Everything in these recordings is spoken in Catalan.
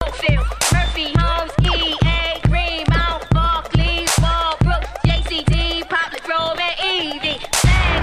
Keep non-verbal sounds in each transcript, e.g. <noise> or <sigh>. Phil, Murphy, Holmes, E, A, Green, Mount, Barkley, Wallbrook, JCD, Public E Grove, and Evie.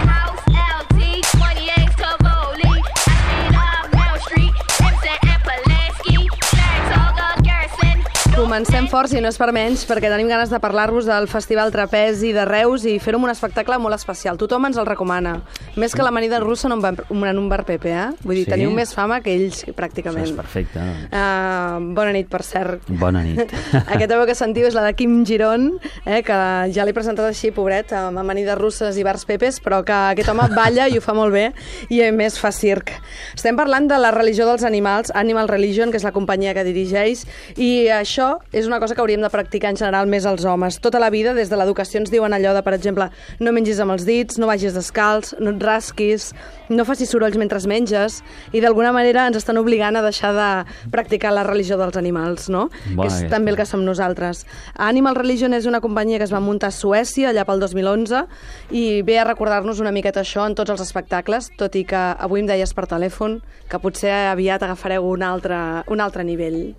House, LT, 28 Cavoli, Ashby, Mount Street, Simpson, and Pulaski, Saratoga, Garrison. Comencem forts i no és per menys, perquè tenim ganes de parlar-vos del Festival Trapezi de Reus i fer-ho amb un espectacle molt especial. Tothom ens el recomana. Més que l'amanida russa en un, bar, en un bar Pepe, eh? Vull dir, Sí? teniu més fama que ells, Això pràcticament. és perfecte. doncs. Uh, bona nit, per cert. Bona <laughs> nit. Aquesta veu que sentiu és la de Quim Giron, eh, que ja l'he presentat així, pobret, amb amanides russes i bars pepes, però que aquest home balla i ho fa molt bé, i a més fa circ. Estem parlant de la religió dels animals, Animal Religion, que és la companyia que dirigeix, i això és una cosa que hauríem de practicar en general més els homes. Tota la vida, des de l'educació, ens diuen allò de, per exemple, no mengis amb els dits, no vagis descalç, no et rasquis, no facis sorolls mentre menges, i d'alguna manera ens estan obligant a deixar de practicar la religió dels animals, no? Bona que és aquesta. també el que som nosaltres. Animal Religion és una companyia que es va muntar a Suècia allà pel 2011 i ve a recordar-nos una miqueta això en tots els espectacles, tot i que avui em deies per telèfon que potser aviat agafareu un altre, un altre nivell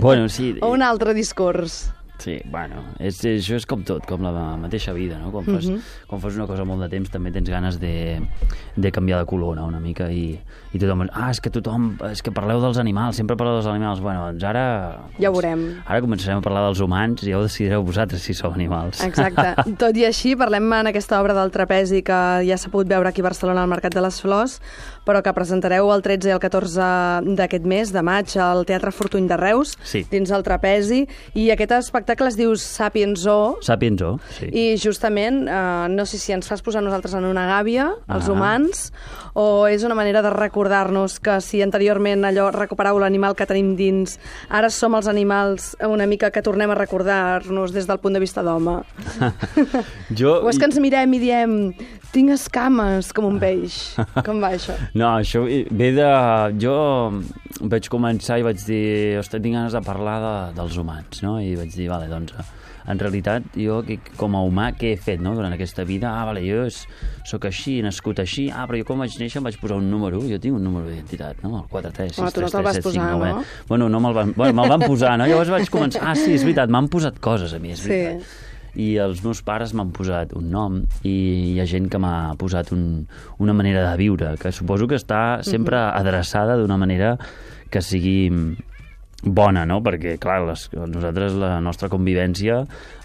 bueno, sí. o un altre discurs. Sí, bueno, és, això és com tot, com la mateixa vida, no? Quan Mhm. fas, quan fas una cosa molt de temps també tens ganes de, de canviar de color, no?, una mica, i, i tothom... Ah, és que tothom... És que parleu dels animals, sempre parleu dels animals. Bueno, doncs ara... Ja ho veurem. Ara començarem a parlar dels humans i ja ho decidireu vosaltres si sou animals. <laughs> Exacte. Tot i així, parlem en aquesta obra del trapezi que ja s'ha pogut veure aquí a Barcelona al Mercat de les Flors, però que presentareu el 13 i el 14 d'aquest mes, de maig, al Teatre Fortuny de Reus, Sí. dins el trapezi, i aquest espectacle es diu Sapiens Zoo, Sapiens, oh? Sí. i justament, eh, no sé si ens fas posar nosaltres en una gàbia, els Ah. humans, o és una manera de recordar-nos que si anteriorment allò recuperau l'animal que tenim dins, ara som els animals una mica que tornem a recordar-nos des del punt de vista d'home. Jo... O és que ens mirem i diem, tinc escames com un <laughs> peix. Com va això? No, això ve de... Jo vaig començar i vaig dir... Ostres, tinc ganes de parlar de, dels humans, no? I vaig dir, vale, doncs... En realitat, jo que- com a humà, què he fet no? durant aquesta vida? Ah, vale, jo és, soc així, he nascut així. Ah, però jo quan vaig néixer em vaig posar un número. Jo tinc un número d'identitat, no? El 4, 3, 6, Home, tu no 3, te'l 3, vas 7, 5, posar, 9, no? eh? Bueno, no me'l van, bueno, me'l van posar, no? Llavors vaig començar... Ah, sí, és veritat, m'han posat coses a mi, és Sí. veritat i els meus pares m'han posat un nom i hi ha gent que m'ha posat un, una manera de viure, que suposo que està sempre adreçada d'una manera que sigui bona, no? Perquè, clar, les, nosaltres la nostra convivència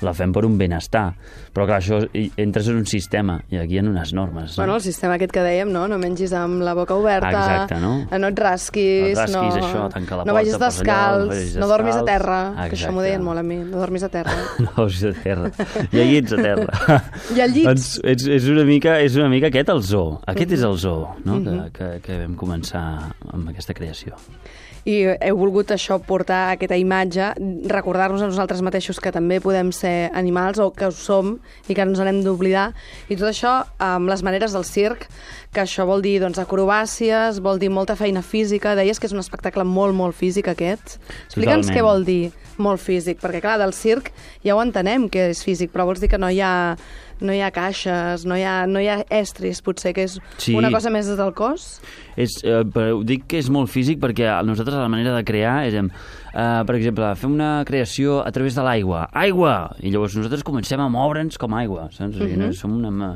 la fem per un benestar. Però, clar, això, i- entres en un sistema i aquí hi ha unes normes. Bueno, <laughs> el sistema aquest que dèiem, no? No mengis amb la boca oberta, eh, Exacte, no? no et rasquis, No et rasquis, no, això, tanca la no porta, vagis posa allò, descalç, no vagis no dormis a descalç. terra, que això m'ho Exacte. deien molt a mi, no dormis a terra. No, és a terra. I allí ets a terra. I al llit. Doncs és, és, una mica, és una mica aquest el zoo. Aquest és el zoo no? que, que, que vam començar amb aquesta creació. I heu volgut això portar aquesta imatge, recordar-nos a nosaltres mateixos que també podem ser animals o que ho som i que ens n'hem d'oblidar. I tot això amb les maneres del circ, que això vol dir doncs, acrobàcies, vol dir molta feina física. Deies que és un espectacle molt, molt físic aquest. Explica'ns Totalment. què vol dir molt físic, perquè clar, del circ ja ho entenem que és físic, però vols dir que no hi ha, no hi ha caixes, no hi ha, no hi ha estris, potser, que és Sí. una cosa més del cos? És, eh, però ho dic que és molt físic perquè a nosaltres la manera de crear és, em, eh, per exemple, fem una creació a través de l'aigua. Aigua! I llavors nosaltres comencem a moure'ns com aigua, saps? O sigui, no, som una... ma-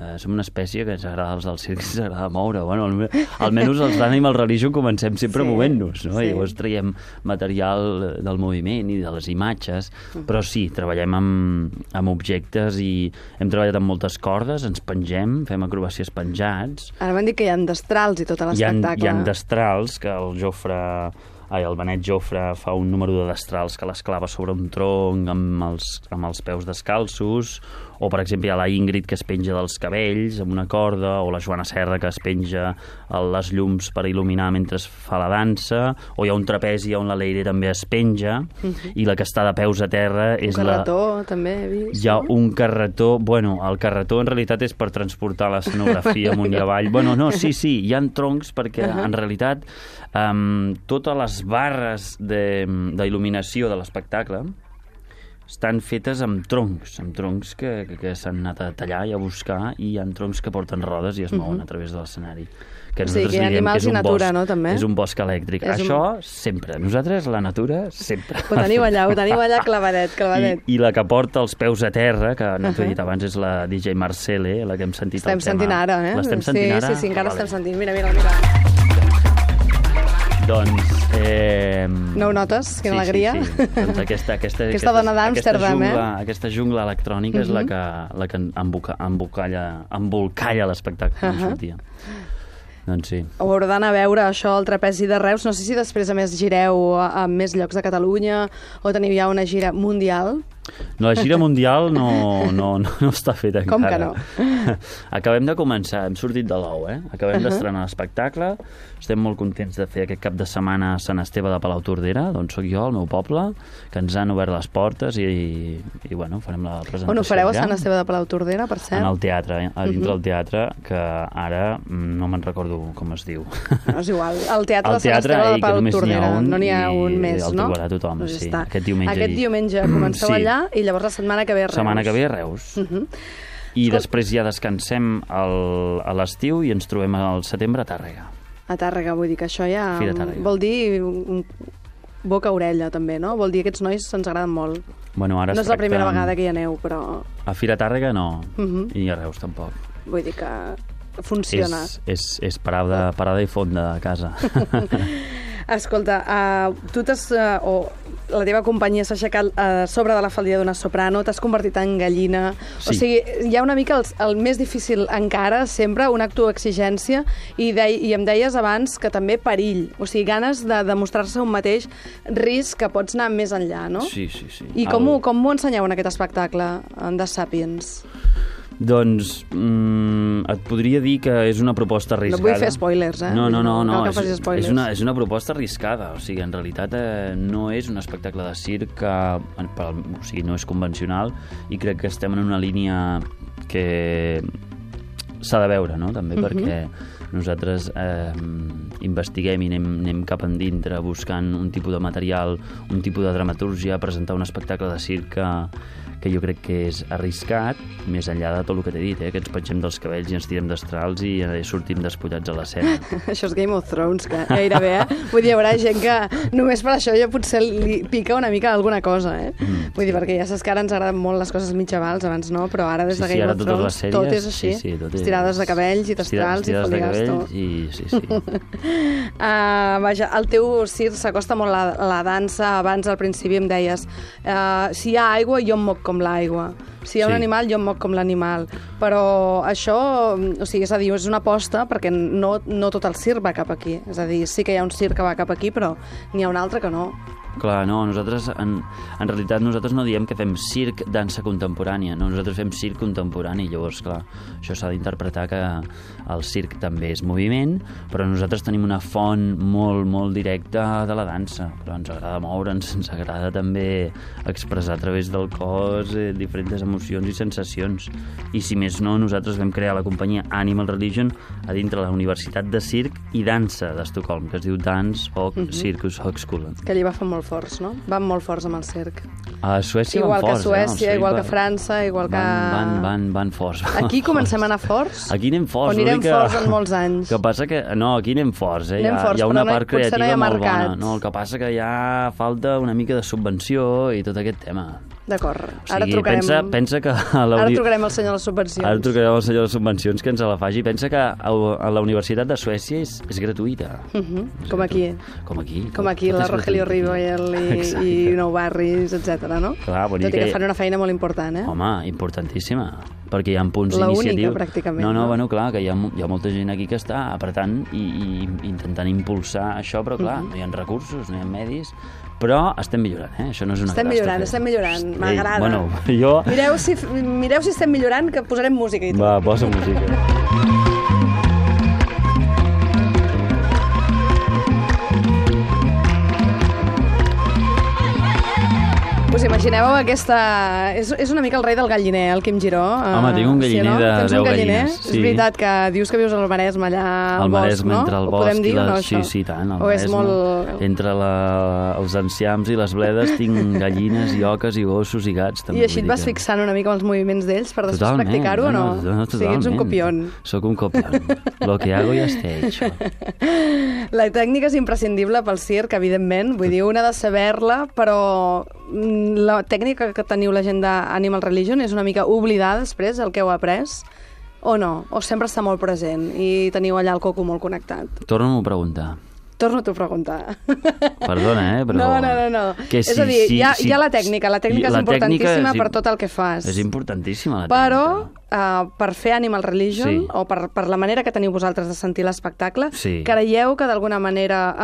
Eh, som una espècie que ens agrada els del circ, ens agrada moure. Bueno, alme- almenys els d'Animal Religion comencem sempre Sí, sí, movent-nos, no? sí. Sí. Llavors traiem material eh, del moviment i de les imatges, però sí, treballem amb, amb objectes i hem treballat amb moltes cordes, ens pengem, fem acrobàcies penjats, Ara m'han dit que hi ha destrals i tot a hi ha, l'espectacle. hi ha destrals que el Jofre... Ai, el Benet Jofre fa un número de destrals que les clava sobre un tronc amb els, amb els peus descalços, o, per exemple, hi ha la Ingrid que es penja dels cabells amb una corda, o la Joana Serra que es penja eh, les llums per il·luminar mentre es fa la dansa, o hi ha un trapezi on la Leire també es penja, i la que està de peus a terra és Mhm. un la, carretó, també, he vist. hi ha no? un carretó... Bueno, el carretó en realitat és per transportar <laughs> l'escenografia amunt i avall. Bueno, no, sí, sí, hi han troncs perquè en realitat um, totes les barres de- d'il·luminació de, l'espectacle estan fetes amb troncs, amb troncs que, que, que s'han anat a tallar i a buscar i hi ha troncs que porten rodes i es mouen a través de l'escenari. Que O sigui, nosaltres que hi ha li diem animals que és i un natura, bosc, no, també? És un bosc elèctric. És un- Això sempre. Nosaltres, la natura, sempre. Ho teniu allà, ho teniu allà clavadet, I, clavadet. I la que porta els peus a terra, que no t'ho Ahà. he dit abans, és la DJ Marcele, la que hem sentit Estem el tema. sentint ara, eh? L'estem sentint sí, ara? Ah, Sí, sí, encara Vale. estem sentint. Mira, mira, mira. Doncs... Eh... No ho notes? Quina alegria. Sí, sí. Doncs aquesta, aquesta, <laughs> Aquesta dona d'Amsterdam, eh? jungla, Aquesta jungla electrònica és la que, la que emboca, embolcalla, embolcalla l'espectacle. Uh -huh. Ahà. sortia. Doncs sí. Ho haurà d'anar a veure, això, al Trapezi de Reus. No sé si després, a més, gireu a, a més llocs de Catalunya o teniu ja una gira mundial. No, la gira mundial no, no, no, no està feta Com encara. que no? <laughs> Acabem de començar, hem sortit de l'ou, eh? Acabem uh -huh. d'estrenar l'espectacle, estem molt contents de fer aquest cap de setmana a Sant Esteve de Palau Tordera, d'on sóc jo, el meu poble, que ens han obert les portes i, i bueno, farem la presentació On ho fareu, a allà. Sant Esteve Mhm. de Palau Tordera, per cert? En el teatre, eh? a dintre del teatre, que ara mm, no me'n recordo com es diu. <laughs> No, és igual. El teatre El de Sant teatre, Esteve ei, de que Palau només n'hi ha Tordera. un No n'hi ha i un més, el no? trobarà tothom, Doncs ja sí. està. Aquest diumenge Aquest hi- diumenge comenceu Sí. allà i llavors la setmana que ve a Reus. Mhm. Setmana que ve a Reus. Uh -huh. I després ja descansem el, a l'estiu i ens trobem al setembre a Tàrrega. A Tàrrega, vull dir que això ja... Fira Tàrrega. Vol dir un- boca-orella, també, no? Vol dir aquests nois ens agraden molt. Bueno, ara no es és la primera tracta- vegada que hi aneu, però A Fira Tàrrega no, uh Mhm. -huh. i a Reus tampoc. vull dir que funciona. És, és, és parada, parada i fonda a casa. Escolta, uh, tu t'has... Uh, o la teva companyia s'ha aixecat a sobre de la faldilla d'una soprano, t'has convertit en gallina... O Sí. sigui, hi ha una mica el, el més difícil encara, sempre, un acte d'exigència, i, de, i em deies abans que també perill, o sigui, ganes de demostrar-se un mateix risc que pots anar més enllà, no? <laughs> sí, sí, sí. I com, ho, El- com ho ensenyeu en aquest espectacle en The Sapiens? Doncs mm, et podria dir que és una proposta vull arriscada. fer spoilers, eh? No, no, no. No no, cal que és, facis spoilers. és, una, és una proposta arriscada. O sigui, en realitat eh, no és un espectacle de circ que... en- per al- O sigui, no és convencional i crec que estem en una línia que s'ha de veure, no?, també, Mhm. perquè nosaltres eh, investiguem i anem, anem cap endintre buscant un tipus de material, un tipus de dramatúrgia, presentar un espectacle de circ que, que jo crec que és arriscat, més enllà de tot el que t'he dit, eh, que ens pengem dels cabells i ens tirem d'estrals i eh, sortim <laughs> despullats a l'escena. <laughs> Això és Game of Thrones, que gairebé, <laughs> eh? Vull dir, hi haurà gent que només per això ja potser li pica una mica alguna cosa, eh? Mm, Vull dir, perquè ja saps que ara ens agraden molt les coses mitjavals, abans no, però ara des Sí, de sí, Game ara of totes les Thrones sèries... tot és així, sí, sí, tot és... estirades de cabells i testrals i Estirades de folies, tot. cabells i... Sí, <laughs> sí. Uh, vaja, el teu circ s'acosta molt a la, a la dansa. Abans, al principi, em deies uh, si hi ha aigua, jo em moc com l'aigua. Si hi ha sí. Sí. un animal, jo em moc com l'animal. Però això, o sigui, és a dir, és una aposta perquè no, no tot el circ va cap aquí. És a dir, sí que hi ha un circ que va cap aquí, però n'hi ha un altre que no. Clar, no, nosaltres, en, en realitat, nosaltres no diem que fem circ dansa contemporània, no, nosaltres fem circ contemporani, llavors, clar, això s'ha d'interpretar que el circ també és moviment, però nosaltres tenim una font molt, molt directa de la dansa, però ens agrada moure'ns, ens agrada també expressar a través del cos eh, diferents emocions i sensacions, i si més no, nosaltres vam crear la companyia Animal Religion a dintre la Universitat de Circ i Dansa d'Estocolm, que es diu Dance Hoc Circus Hoc School. Que allí va fer molt forts, no? Van molt forts amb el circ. A Suècia igual van que a forts, eh? Els Suècia, igual que a van- França, igual que... Van, van, van, van forts. van <laughs> Aquí comencem a forts. anar forts? Aquí anem forts. O anirem l'únic que... forts en molts anys? Que passa que... No, aquí anem forts, eh? Anem hi, ha, forts, hi ha però una no hi- part potser no hi ha creativa molt bona. mercat. No, el que passa que ja falta una mica de subvenció i tot aquest tema. D'acord. O Ara sigui, trucarem... pensa, pensa que... a la Ara uni- trucarem al senyor de les subvencions. Ara trucarem al senyor de les subvencions que ens la faci. Pensa que a, a la Universitat de Suècia és, és gratuïta. Mhm, És com aquí. gratuïta. Com aquí. Com aquí, tot la és Rogelio gratuït. Riboel i, <laughs> Exacte. i Nou Barris, etc. no? Clar, Tot vol i dir que que- fan una feina molt important, eh? Home, importantíssima, perquè hi ha punts La única, d'iniciativa... pràcticament, No, no, no? bueno, clar, que hi ha, mo- hi ha molta gent aquí que està apretant i, i intentant impulsar això, però Mhm. clar, no hi ha recursos, no hi ha medis, però estem millorant, eh? Això no és una Estem millorant, catàstrofe. estem millorant. Ei, M'agrada. Bueno, jo... Mireu, si, mireu si estem millorant, que posarem música i tot. Va, posa música. Us imagineu aquesta... És, és una mica el rei del galliner, el Quim Giró. eh? Home, tinc un galliner de Tens un 10 galliner? gallines, sí. És veritat que dius que vius al Maresme, allà al al bosc, Maresme, no? entre el Ho bosc podem dir, o i la... no, sí, això? sí, tant, al o és Maresme. molt... Entre la... els enciams i les bledes tinc gallines i oques i gossos i gats. També, I així et vull dir vas que- fixant una mica amb els moviments d'ells per després Totalment, practicar-ho o no? no, o sigui, ets un totalment. copion. Sóc un copión. Lo que hago ya está hecho. La tècnica és imprescindible pel circ, evidentment. Vull dir, una ha de saber-la, però mm, la tècnica que teniu la gent d'Animal Religion és una mica oblidar després el que heu après, o no? O sempre està molt present i teniu allà el coco molt connectat? Torna-m'ho a preguntar. Torno-t'ho a preguntar. Perdona, eh, però... No, no, no. no. Que és si, a dir, si, hi, ha, si, hi ha la tècnica. La tècnica és la importantíssima és im- per tot el que fas. És importantíssima, la Però tècnica. uh, per fer Animal Religion, sí. o Ah, Sí. per, per la manera que teniu vosaltres de sentir l'espectacle, Sí. creieu que d'alguna manera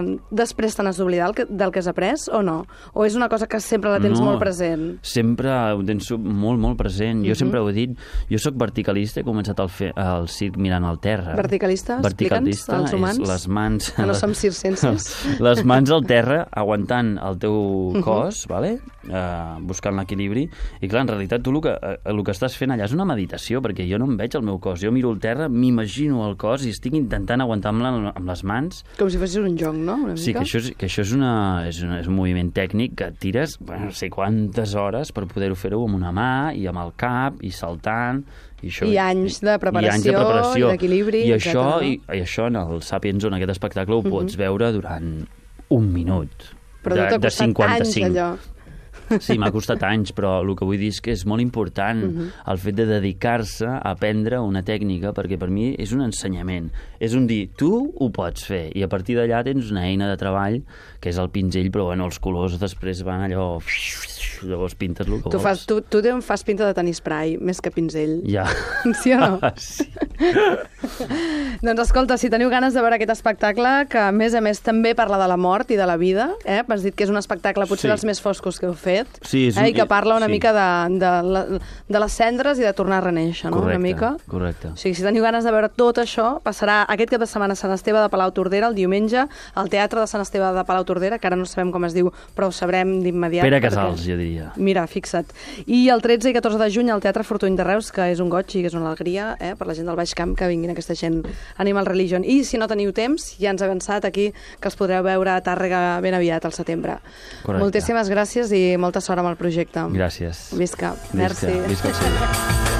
uh, després te n'has d'oblidar el que- del que has après o no? O és una cosa que sempre la tens molt present? Mhm. Sempre ho tens sub- molt, molt present. Jo sempre ho he dit, jo sóc verticalista, he començat al, fe, al circ mirant al terra. Verticalista? Explica'ns, Verticalista als és humans. les mans... Que no som circenses. <laughs> Mhm. les mans al terra, aguantant el teu cos, vale? uh, buscant l'equilibri. I clar, en realitat tu el que, eh, el que estàs fent allà és una meditació, perquè jo no em veig el meu cos. Jo miro el terra, m'imagino el cos i estic intentant aguantar-me amb les mans Com si fossis un joc, no? Una Sí, mica? que això, és, que això és, una, és, una, és un moviment tècnic que tires bueno, no sé quantes hores per poder-ho fer-ho amb una mà i amb el cap i saltant. I, això, I anys de I anys de preparació, preparació. i d'equilibri, I, això, etcètera, Mhm. i, I això en el Sapiens en aquest espectacle ho pots veure durant un minut. Però a tu t'ha de, de costat 55. anys, allò. Sí, m'ha costat anys, però el que vull dir és que és molt important Mhm. el fet de dedicar-se a aprendre una tècnica, perquè per mi és un ensenyament. És un dir, tu ho pots fer, i a partir d'allà tens una eina de treball, que és el pinzell, però bueno, els colors després van allò... Llavors pintes el que Tu, vols. fas, tu, tu em fas pinta de tenir spray, més que pinzell. Ja. <laughs> Sí o <laughs> no? sí. Doncs escolta, si teniu ganes de veure aquest espectacle, que a més a més també parla de la mort i de la vida, eh? m'has dit que és un espectacle potser Sí. dels més foscos que heu fet, Sí, és eh? un- i que parla una sí. mica de, de, la, de les cendres i de tornar a reneixer, no? Correcte, una mica. correcte. O sigui, si teniu ganes de veure tot això, passarà aquest cap de setmana a Sant Esteve de Palau Tordera, el diumenge, al Teatre de Sant Esteve de Palau Tordera, que ara no sabem com es diu, però ho sabrem d'immediat. Pere perquè- Casals, jo diria. Mira, fixa't. I el 13 i 14 de juny al Teatre Fortuny de Reus, que és un goig i que és una alegria eh, per la gent del Baix Camp que vinguin aquesta gent Animal Religion. I si no teniu temps, ja ens ha avançat aquí que els podreu veure a Tàrrega ben aviat al setembre. Correcte. Moltíssimes gràcies i molta sort amb el projecte. Gràcies. Visca. Visca, Merci. Visca el seu.